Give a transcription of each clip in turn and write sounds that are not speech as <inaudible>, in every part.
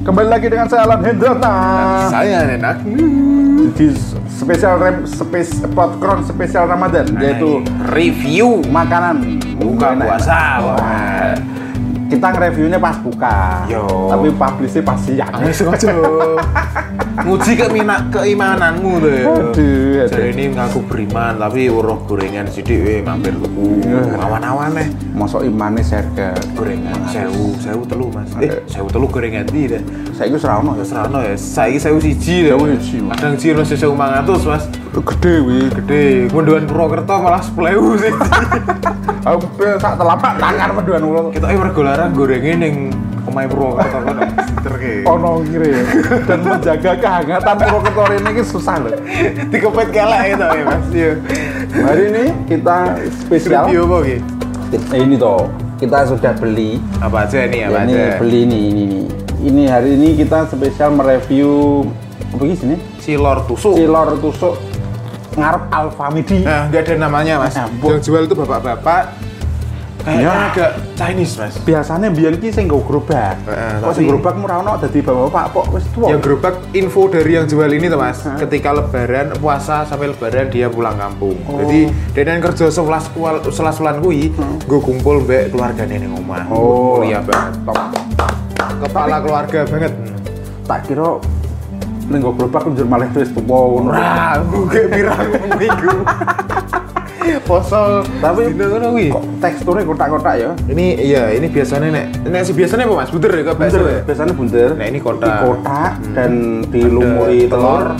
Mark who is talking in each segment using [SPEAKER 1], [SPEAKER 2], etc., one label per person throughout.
[SPEAKER 1] kembali lagi dengan saya Alan Hendrata
[SPEAKER 2] Saya Renak
[SPEAKER 1] di spesial rem spes popcorn spesial Ramadan yaitu
[SPEAKER 2] review
[SPEAKER 1] makanan
[SPEAKER 2] Nah, iya. buka
[SPEAKER 1] Enak.
[SPEAKER 2] puasa.
[SPEAKER 1] Wah. kita nge-reviewnya pas buka
[SPEAKER 2] Yo.
[SPEAKER 1] tapi publishnya pas siang
[SPEAKER 2] sengaja. <laughs> Nguji ke mina keimananmu tuh.
[SPEAKER 1] Aduh, aduh.
[SPEAKER 2] Jadi ini ngaku beriman tapi uruh gorengan sidik we mampir tuku. Awan-awan eh
[SPEAKER 1] masuk imane serga
[SPEAKER 2] gorengan sewu, sewu telu Mas. Eh, sewu telu gorengan di deh.
[SPEAKER 1] saya itu serono ya
[SPEAKER 2] Wis ra ono ya, saiki sewu siji deh.
[SPEAKER 1] Sewu siji, Mas.
[SPEAKER 2] Kadang jiro sewu 500, Mas.
[SPEAKER 1] gede wi
[SPEAKER 2] Gede, ngunduhan Purwokerto malah 10.000 sih. <laughs>
[SPEAKER 1] hampir sak telapak tangan meduan ulo
[SPEAKER 2] Kita eh mergo larang gorengin yang omahe Purwokerto kan. Terke.
[SPEAKER 1] ono kiri dan menjaga kehangatan Purwokerto hari ini susah loh
[SPEAKER 2] <laughs> Dikepet kalah itu ya Mas. Yo.
[SPEAKER 1] hari ini kita spesial
[SPEAKER 2] Review apa iki?
[SPEAKER 1] Eh, ini toh kita sudah beli
[SPEAKER 2] Apa aja ini
[SPEAKER 1] Ya,
[SPEAKER 2] apa aja?
[SPEAKER 1] ini beli ini ini ini. Ini hari ini kita spesial mereview apa sih ini?
[SPEAKER 2] Silor tusuk.
[SPEAKER 1] Cilor tusuk ngarep Alfamidi.
[SPEAKER 2] Nah, nggak ada namanya Mas.
[SPEAKER 1] Nah, bu-
[SPEAKER 2] Yang jual itu bapak-bapak. Kayaknya
[SPEAKER 1] Ya.
[SPEAKER 2] agak Chinese Mas.
[SPEAKER 1] Biasanya biyen ki sing nggo gerobak.
[SPEAKER 2] Heeh,
[SPEAKER 1] Kok sing
[SPEAKER 2] Nah, tapi- Ya.
[SPEAKER 1] gerobak murah ono dadi bapak-bapak kok wis tuwa.
[SPEAKER 2] Yang gerobak info dari yang jual ini tuh mas, ketika lebaran puasa sampai lebaran dia pulang kampung.
[SPEAKER 1] Oh.
[SPEAKER 2] Jadi dia yang kerja selas selas bulan kui, gue kumpul mbak keluarga nih ngomah.
[SPEAKER 1] Hmm. Oh.
[SPEAKER 2] iya banget.
[SPEAKER 1] Top.
[SPEAKER 2] Kepala keluarga banget.
[SPEAKER 1] Tak kira ning nggo gerobak njur malah wis tuwa ngono.
[SPEAKER 2] Wah, gue gak pirang <laughs> minggu. Posol.
[SPEAKER 1] Tapi-
[SPEAKER 2] Dino ngono kui.
[SPEAKER 1] Kok teksturnya kotak-kotak ya?
[SPEAKER 2] Ini iya, ini biasanya nek nek si biasanya apa mas? Buder ya kok bakso ya?
[SPEAKER 1] biasanya bunder.
[SPEAKER 2] Nah, ini kotak. Hmm.
[SPEAKER 1] Di kotak dan dilumuri
[SPEAKER 2] Ada telur.
[SPEAKER 1] telur.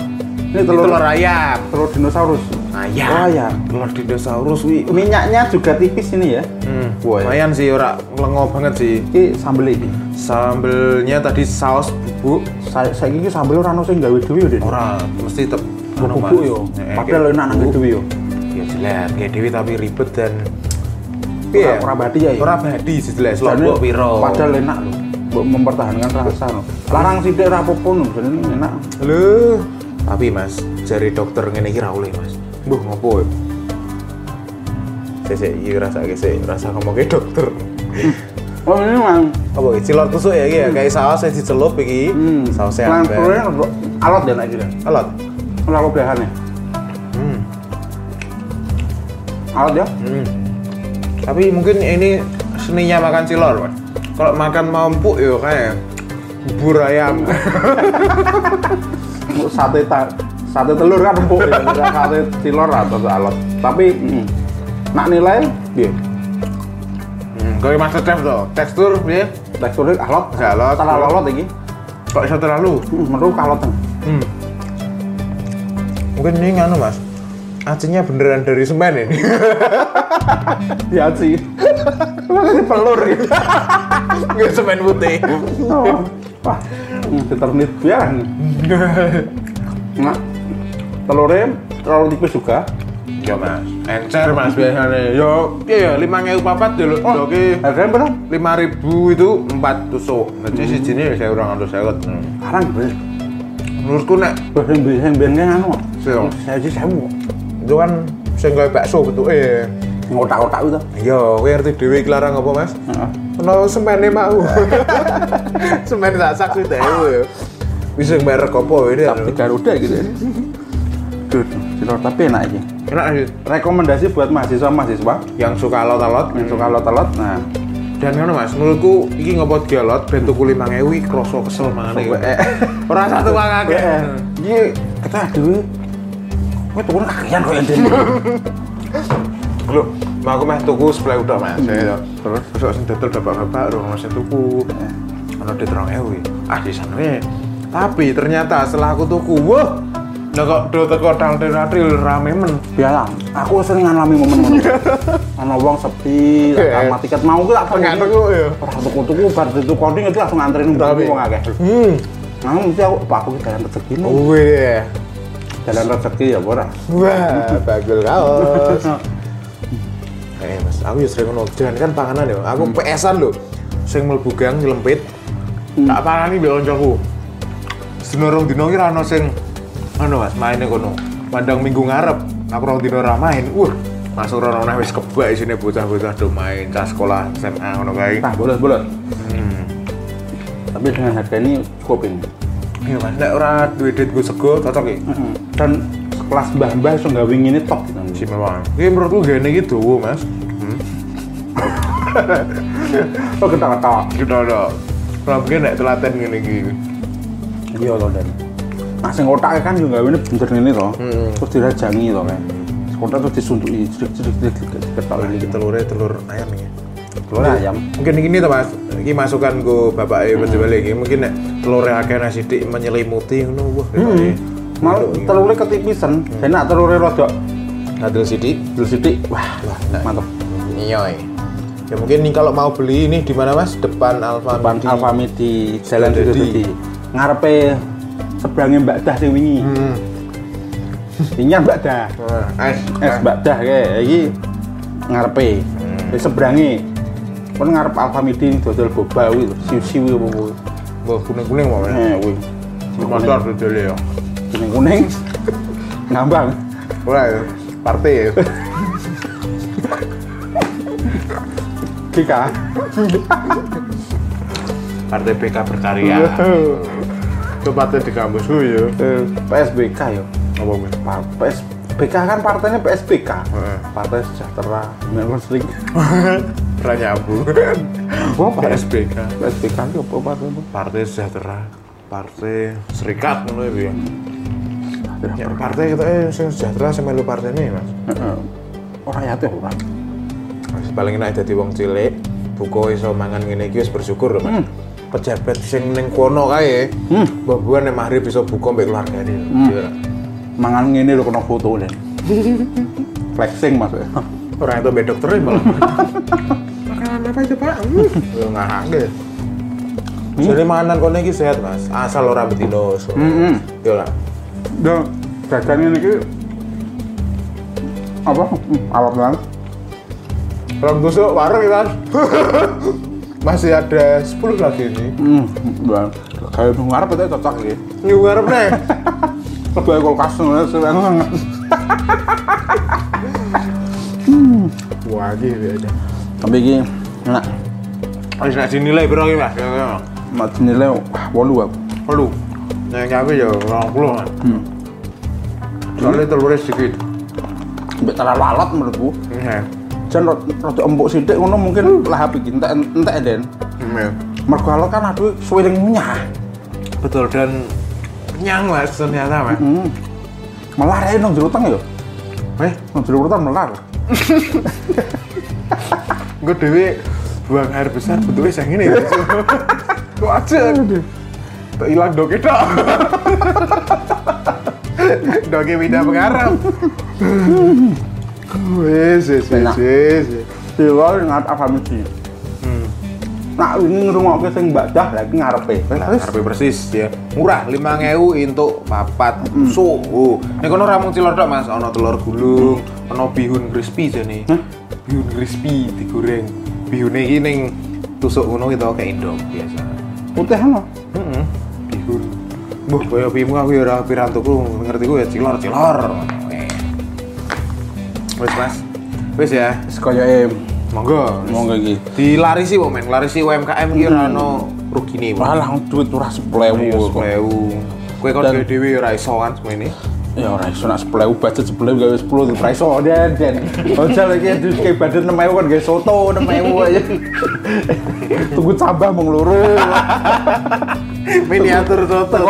[SPEAKER 1] Ini
[SPEAKER 2] Ini
[SPEAKER 1] telur
[SPEAKER 2] telur Ah, iya. ayam.
[SPEAKER 1] telur dinosaurus.
[SPEAKER 2] Ayam.
[SPEAKER 1] Oh, ayam.
[SPEAKER 2] Telur dinosaurus wi.
[SPEAKER 1] Minyaknya juga tipis ini ya.
[SPEAKER 2] Hmm,
[SPEAKER 1] Wah.
[SPEAKER 2] lumayan sih ora lengo banget sih.
[SPEAKER 1] Iki sambel iki.
[SPEAKER 2] Sambelnya tadi saus bubuk
[SPEAKER 1] Sa- saiki iki sambel ora Iya, ono sing gawe dhewe yo, Den.
[SPEAKER 2] ora mesti tetep anu,
[SPEAKER 1] bubuk
[SPEAKER 2] Mas.
[SPEAKER 1] yo.
[SPEAKER 2] Eh,
[SPEAKER 1] Padahal
[SPEAKER 2] kayak
[SPEAKER 1] enak nang
[SPEAKER 2] bubuk.
[SPEAKER 1] dhewe yo.
[SPEAKER 2] Ya jelas, kayak Dewi tapi ribet dan
[SPEAKER 1] Ora- ora badi ya, ya?
[SPEAKER 2] Iya. Ora badi sih jelas
[SPEAKER 1] Jane
[SPEAKER 2] lombok piro.
[SPEAKER 1] Padahal enak lho. Mbok mempertahankan rasa lho. Larang sithik ora apa-apa lho, jane enak.
[SPEAKER 2] Lho, tapi Mas, jari dokter ngene iki ra oleh, Mas. Mbuh ngopo? Sese iki rasa sik, rasa ngomong ke dokter.
[SPEAKER 1] Oh, ini mang.
[SPEAKER 2] Apa iki cilor tusuk ya iki ya, kayak saus sing dicelup iki.
[SPEAKER 1] Hmm.
[SPEAKER 2] Sausnya
[SPEAKER 1] Lang telurnya
[SPEAKER 2] ambek.
[SPEAKER 1] rada- alot ya nek iki. Den.
[SPEAKER 2] Alot.
[SPEAKER 1] Ora ya? kok blehane.
[SPEAKER 2] Hmm.
[SPEAKER 1] Alot ya?
[SPEAKER 2] Hmm. Tapi mungkin ini seninya makan cilor, Mas. Kalau makan mau empuk ya kayak bubur ayam.
[SPEAKER 1] Hmm. Untuk sate ta sate telur kan empuk ya, Nggak sate cilor atau alot. Tapi mm, nak nilai piye?
[SPEAKER 2] Hmm, kayak master chef tuh. Tekstur ya
[SPEAKER 1] Teksturnya alot,
[SPEAKER 2] Nggak alot.
[SPEAKER 1] Terlalu alot iki.
[SPEAKER 2] kok iso terlalu.
[SPEAKER 1] Hmm, Menurut kalot.
[SPEAKER 2] Hmm. Mungkin ini nganu, Mas. Acinya beneran dari semen ini.
[SPEAKER 1] Ya <laughs> sih. Makanya pelur gitu.
[SPEAKER 2] Enggak semen putih.
[SPEAKER 1] No. Oh, Wah, Hmm, determinit biar. ya, Nah, telurnya terlalu tipis juga.
[SPEAKER 2] Yo, Mas. Encer, Mas, biasanya. Yo, iya ya, 5.000 papat dulu. Oh. Oke.
[SPEAKER 1] Harganya berapa?
[SPEAKER 2] 5.000 itu 4 tusuk. Jadi si sini saya orang harus saya
[SPEAKER 1] Sekarang gue
[SPEAKER 2] Hmm. Menurutku nek
[SPEAKER 1] gue sembih sembihnya anu.
[SPEAKER 2] Sio.
[SPEAKER 1] Saya sih saya mau
[SPEAKER 2] itu kan sing gawe bakso betul eh.
[SPEAKER 1] ngotak-ngotak itu.
[SPEAKER 2] Yo, kowe ngerti dhewe iki larang apa, Mas?
[SPEAKER 1] Heeh.
[SPEAKER 2] Ono semene <laughs> mau. Semen sak sak sih yo. Wis sing merek apa ini?
[SPEAKER 1] Tapi Garuda gitu. ya. Duh, cilor tapi enak aja.
[SPEAKER 2] Enak sih.
[SPEAKER 1] Rekomendasi buat mahasiswa-mahasiswa
[SPEAKER 2] Yang suka alot-alot
[SPEAKER 1] yang suka alot-alot. Nah,
[SPEAKER 2] dan ngono Mas, menurutku iki ngopot gelot ben tuku 5000 iki krasa kesel mangane.
[SPEAKER 1] Sok wae.
[SPEAKER 2] Ora satu wae akeh.
[SPEAKER 1] eh, iya kita dulu. Gue turun kakian kok yang dulu.
[SPEAKER 2] Lho, mau aku meh tuku sebelah udah Mas. Ya, ya.
[SPEAKER 1] Terus?
[SPEAKER 2] besok sing dodol bapak-bapak ora ono sing tuku. Ono di 3000. Ah, di sana weh. Tapi ternyata setelah aku tuku, wah, Nah kok do teko dal teratril rame men.
[SPEAKER 1] biarlah aku sering ngalami momen momen ana wong sepi
[SPEAKER 2] Oke.
[SPEAKER 1] sama tiket mau ku tak
[SPEAKER 2] Nggak tuku, ya?
[SPEAKER 1] ora tuku-tuku bar itu coding itu langsung nganterin
[SPEAKER 2] Tapi-
[SPEAKER 1] wong akeh
[SPEAKER 2] Hmm.
[SPEAKER 1] nah mesti aku pak aku ki jalan rezeki nih
[SPEAKER 2] Wih.
[SPEAKER 1] jalan rezeki ya ora
[SPEAKER 2] Wah, bagul kaos. Eh mas, aku ya sering ngono jalan kan panganan ya. Aku PS-an lho. Sing mlebu gang nyelempit. Tak pangani mbek kancaku. Sedina rong dino ki ra ono sing ngono Mas, maine kono. Pandang minggu ngarep, aku rong dino ra main. Wah, masuk rono neh wis kebak isine Ah. bocah-bocah do main cah sekolah SMA ngono kae.
[SPEAKER 1] nah bolos bolos tapi dengan harga ini cukup ini
[SPEAKER 2] Iya mas, nek ora duwe duit gue sego cocok ya.
[SPEAKER 1] Mm-mm. dan sekelas mbah-mbah iso gawe ini top gitu.
[SPEAKER 2] Si memang. Ini menurutku gini gitu, mas.
[SPEAKER 1] oh ketawa-tawa
[SPEAKER 2] Gitu ada. Kalau begini nek telaten gini gini.
[SPEAKER 1] iya loh dan nah sing otaknya kan juga ini bener ini toh terus dirajangi toh kan kotak terus disuntuki jerik jerik jerik jerik ketawa
[SPEAKER 2] Ini
[SPEAKER 1] ini
[SPEAKER 2] telurnya telur ayam ya.
[SPEAKER 1] telur ayam
[SPEAKER 2] Mungkin ini tuh mas, ini masukan gue bapak ibu hmm. balik ini. Mungkin nek telurnya akeh nasi dik menyelimuti ngono wah. Hmm.
[SPEAKER 1] malah telurnya ketipisan dan nak telurnya rodok
[SPEAKER 2] Adil sidik.
[SPEAKER 1] dulu sidik wah mantap
[SPEAKER 2] Nyoy. Ya mungkin nih kalau mau beli ini di mana mas? Depan Alfa.
[SPEAKER 1] depan
[SPEAKER 2] Midi.
[SPEAKER 1] Alfamidi di Jalan
[SPEAKER 2] Sudah
[SPEAKER 1] Sudah
[SPEAKER 2] jadi.
[SPEAKER 1] Dadi ngarepe seberangnya Mbak Dah sing wingi
[SPEAKER 2] Hmm.
[SPEAKER 1] ini Mbak Dah
[SPEAKER 2] Nah, Ais.
[SPEAKER 1] es Mbak Dah kayak iki ngarepe hmm. seberangnya pun ngarep Alfamidi ini dodol boba kuwi lho siu-siu apa kuwi
[SPEAKER 2] Wah kuning kuning mau mas.
[SPEAKER 1] eh kuwi
[SPEAKER 2] Motor betul ya.
[SPEAKER 1] kuning-kuning ngambang
[SPEAKER 2] Ora ya. Partai ya.
[SPEAKER 1] Kika
[SPEAKER 2] Partai PK berkarya. Tempatnya di kampus gue ya.
[SPEAKER 1] Eh, PSBK yo
[SPEAKER 2] Apa gue?
[SPEAKER 1] Pa- PSBK kan partainya PSBK
[SPEAKER 2] Heeh.
[SPEAKER 1] Partai Sejahtera Memang sering
[SPEAKER 2] Pernah nyambung.
[SPEAKER 1] Gua apa?
[SPEAKER 2] PSBK.
[SPEAKER 1] PSBK itu apa partai itu?
[SPEAKER 2] Partai Sejahtera. Partai Serikat ngono ya. Ya, partai kita eh sing sejahtera sing melu partai ini mas.
[SPEAKER 1] Heeh. Orang yatim Oh, orang.
[SPEAKER 2] Mas, Paling enak dadi wong cilik, buka iso mangan ngene iki wis bersyukur lho mas. Pejabat sing ning kono kae, mbah buan nek magrib iso buka mbek keluargane. Iya.
[SPEAKER 1] Mangan ngene lho kena foto <laughs> dan. Flexing maksudnya.
[SPEAKER 2] Orang itu mbek dokter e malah. <laughs> Makanan apa itu Pak? Hmm. Yo ngahake. Jadi makanan kono iki sehat mas, asal ora betino. So.
[SPEAKER 1] Hmm, hmm.
[SPEAKER 2] Yo lah.
[SPEAKER 1] Dan dagangan ini ki apa? Alat lang.
[SPEAKER 2] Orang tusuk warung kita. <laughs> Masih ada 10 lagi ini.
[SPEAKER 1] Hmm, dan kayak nang ngarep itu cocok iki.
[SPEAKER 2] Nyu ngarep nih.
[SPEAKER 1] Lebih kulkas ngono seneng.
[SPEAKER 2] Wah, gitu aja.
[SPEAKER 1] Tapi iki enak.
[SPEAKER 2] Wis nak dinilai piro iki, Mas?
[SPEAKER 1] Mat nilai wah, wolu aku.
[SPEAKER 2] Perlu. Nek nyapi ya 20 kan. Soalnya telurnya sedikit.
[SPEAKER 1] Mbek terlalu alat menurutku.
[SPEAKER 2] Iya.
[SPEAKER 1] Jan rod- rada empuk sithik ngono mungkin lah iki entek entek den.
[SPEAKER 2] Iya.
[SPEAKER 1] Mergo alat kan aduh suwiring munyah.
[SPEAKER 2] Betul dan kenyang Mas ternyata, Mas.
[SPEAKER 1] Hmm. Melar ae nang jero teng ya.
[SPEAKER 2] Eh,
[SPEAKER 1] Nang jero teng melar.
[SPEAKER 2] gue dewe buang air besar bentuknya yang ini. ya. Kok aja? Tak hilang doke tok. Doke pindah pengarang. Wes, wes, wes,
[SPEAKER 1] Enak.
[SPEAKER 2] wes.
[SPEAKER 1] Dewa ngat afamiji.
[SPEAKER 2] Hmm.
[SPEAKER 1] Nak wingi ngrungokke sing Mbak Dah lagi ngarepe. Terus
[SPEAKER 2] Harpe persis ya. Murah, 5.000 untuk papat suhu. Nek kono ora mung cilor tok, Mas, ana telur gulung, ana bihun crispy jane. Bihun crispy digoreng. Bihune iki ning tusuk ngono kita kayak Indo biasa.
[SPEAKER 1] putih ngono.
[SPEAKER 2] Heeh. Bihun. Mbah, kaya pimu aku ya ora pirantuku, ngerti ku ya cilor-cilor. Oke. Wes, Mas. Wes ya.
[SPEAKER 1] Wis koyoke
[SPEAKER 2] Monggo.
[SPEAKER 1] monggo iki.
[SPEAKER 2] Dilarisi kok, men. Larisi UMKM ki ora ono rugine. Pak.
[SPEAKER 1] Malah duit ora 10.000 kok.
[SPEAKER 2] Sepelewu. Kue kan
[SPEAKER 1] iya, Dan-
[SPEAKER 2] dewe dewi ora iso kan semua
[SPEAKER 1] <laughs>
[SPEAKER 2] ini.
[SPEAKER 1] Ya ora iso nak 10.000 budget 10.000 gawe 10 di price oh den <laughs> den. Ojol iki duit kayak budget 6.000 kan gawe soto 6.000 <laughs> aja. Tunggu cabah mung loro.
[SPEAKER 2] Miniatur total.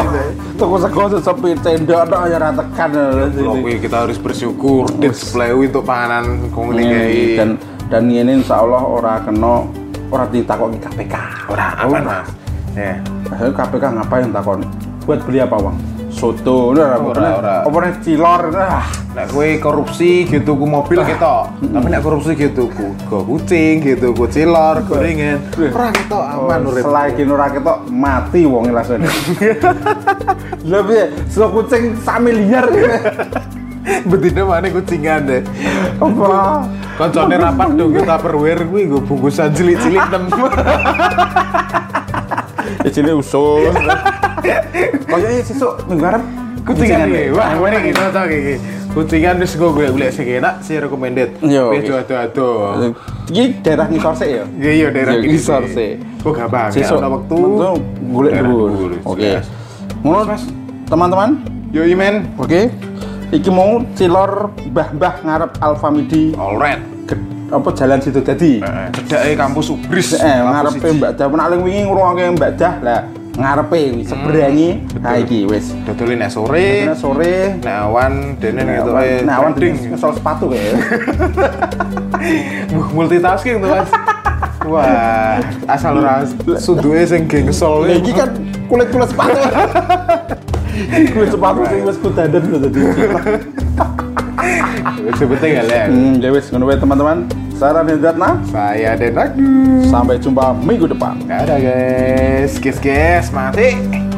[SPEAKER 1] Tunggu sego sepi tenda tok ya ora tekan.
[SPEAKER 2] Kalau kue kita harus bersyukur dan sepelewu untuk panganan komuni
[SPEAKER 1] Ini,
[SPEAKER 2] kayak
[SPEAKER 1] Iya, dan dan ini insya Allah ora kena ora ditakoki KPK ora
[SPEAKER 2] aman mas. Ya.
[SPEAKER 1] Akhirnya KPK ngapain takon buat beli apa bang soto ora
[SPEAKER 2] Ora, ora.
[SPEAKER 1] apa nih cilor nah.
[SPEAKER 2] Nek kue korupsi gitu ku mobil kita, tapi nek korupsi gitu ku go kucing gitu ku cilor gorengan. Ora kita aman
[SPEAKER 1] Anu
[SPEAKER 2] urip.
[SPEAKER 1] selagi ora ketok mati wong rasane <laughs> lebih so kucing sak miliar
[SPEAKER 2] Betina mana kucingan deh.
[SPEAKER 1] apa
[SPEAKER 2] Koncone rapat dong kita perwer kuwi nggo bungkusan cilik-cilik
[SPEAKER 1] <laughs>
[SPEAKER 2] nem.
[SPEAKER 1] Ijine usul koyo Oh, iya, sesuk minggu arep
[SPEAKER 2] Kucingan iki. Wah,
[SPEAKER 1] ngene
[SPEAKER 2] ngene iki cocok iki. Kucingan wis gue golek-golek sing enak, sing recommended.
[SPEAKER 1] Yo,
[SPEAKER 2] Wis
[SPEAKER 1] oke.
[SPEAKER 2] aduh-aduh.
[SPEAKER 1] Iki daerah ngisor sik ya.
[SPEAKER 2] Iya iya daerah
[SPEAKER 1] Yo,
[SPEAKER 2] gini
[SPEAKER 1] ngisor sik.
[SPEAKER 2] Kok gampang.
[SPEAKER 1] Sesuk
[SPEAKER 2] Sesuk waktu.
[SPEAKER 1] mentu golek
[SPEAKER 2] Daerah
[SPEAKER 1] dhuwur.
[SPEAKER 2] dhuwur,
[SPEAKER 1] Oke.
[SPEAKER 2] jelas.
[SPEAKER 1] Ngono
[SPEAKER 2] Mas, mas.
[SPEAKER 1] teman-teman.
[SPEAKER 2] Yo i, men.
[SPEAKER 1] Oke. Iki mau cilor mbah-mbah ngarep Alfamidi
[SPEAKER 2] Alright.
[SPEAKER 1] Ged- apa jalan situ tadi.
[SPEAKER 2] Heeh. Cedake kampus Ubris.
[SPEAKER 1] Eh, ngarepe Mbak Dah pernah paling wingi ngrungokke Mbak Dah lah
[SPEAKER 2] Hmm,
[SPEAKER 1] ngarepe seberangi ha iki wis.
[SPEAKER 2] Dodolin nek sore.
[SPEAKER 1] Karena sore
[SPEAKER 2] Nek awan dene
[SPEAKER 1] Nah,
[SPEAKER 2] gitu
[SPEAKER 1] awan-
[SPEAKER 2] ae.
[SPEAKER 1] nah, awan
[SPEAKER 2] ding.
[SPEAKER 1] ding ngesel sepatu
[SPEAKER 2] <laughs>
[SPEAKER 1] kayak.
[SPEAKER 2] Buh, <laughs> multitasking tuh, Mas. Wah, asal ora sunduke sing gengsol.
[SPEAKER 1] Lah iki kan kulit-kulit sepatu.
[SPEAKER 2] <laughs>
[SPEAKER 1] Kulit sepatu sing wis kudaden lho tadi.
[SPEAKER 2] Itu penting ya, Len.
[SPEAKER 1] Hmm, ya wis ngono wae teman-teman. Saya Raden Ratna,
[SPEAKER 2] Saya Denak.
[SPEAKER 1] sampai jumpa minggu depan.
[SPEAKER 2] Dadah, guys. Kis-kis, mati.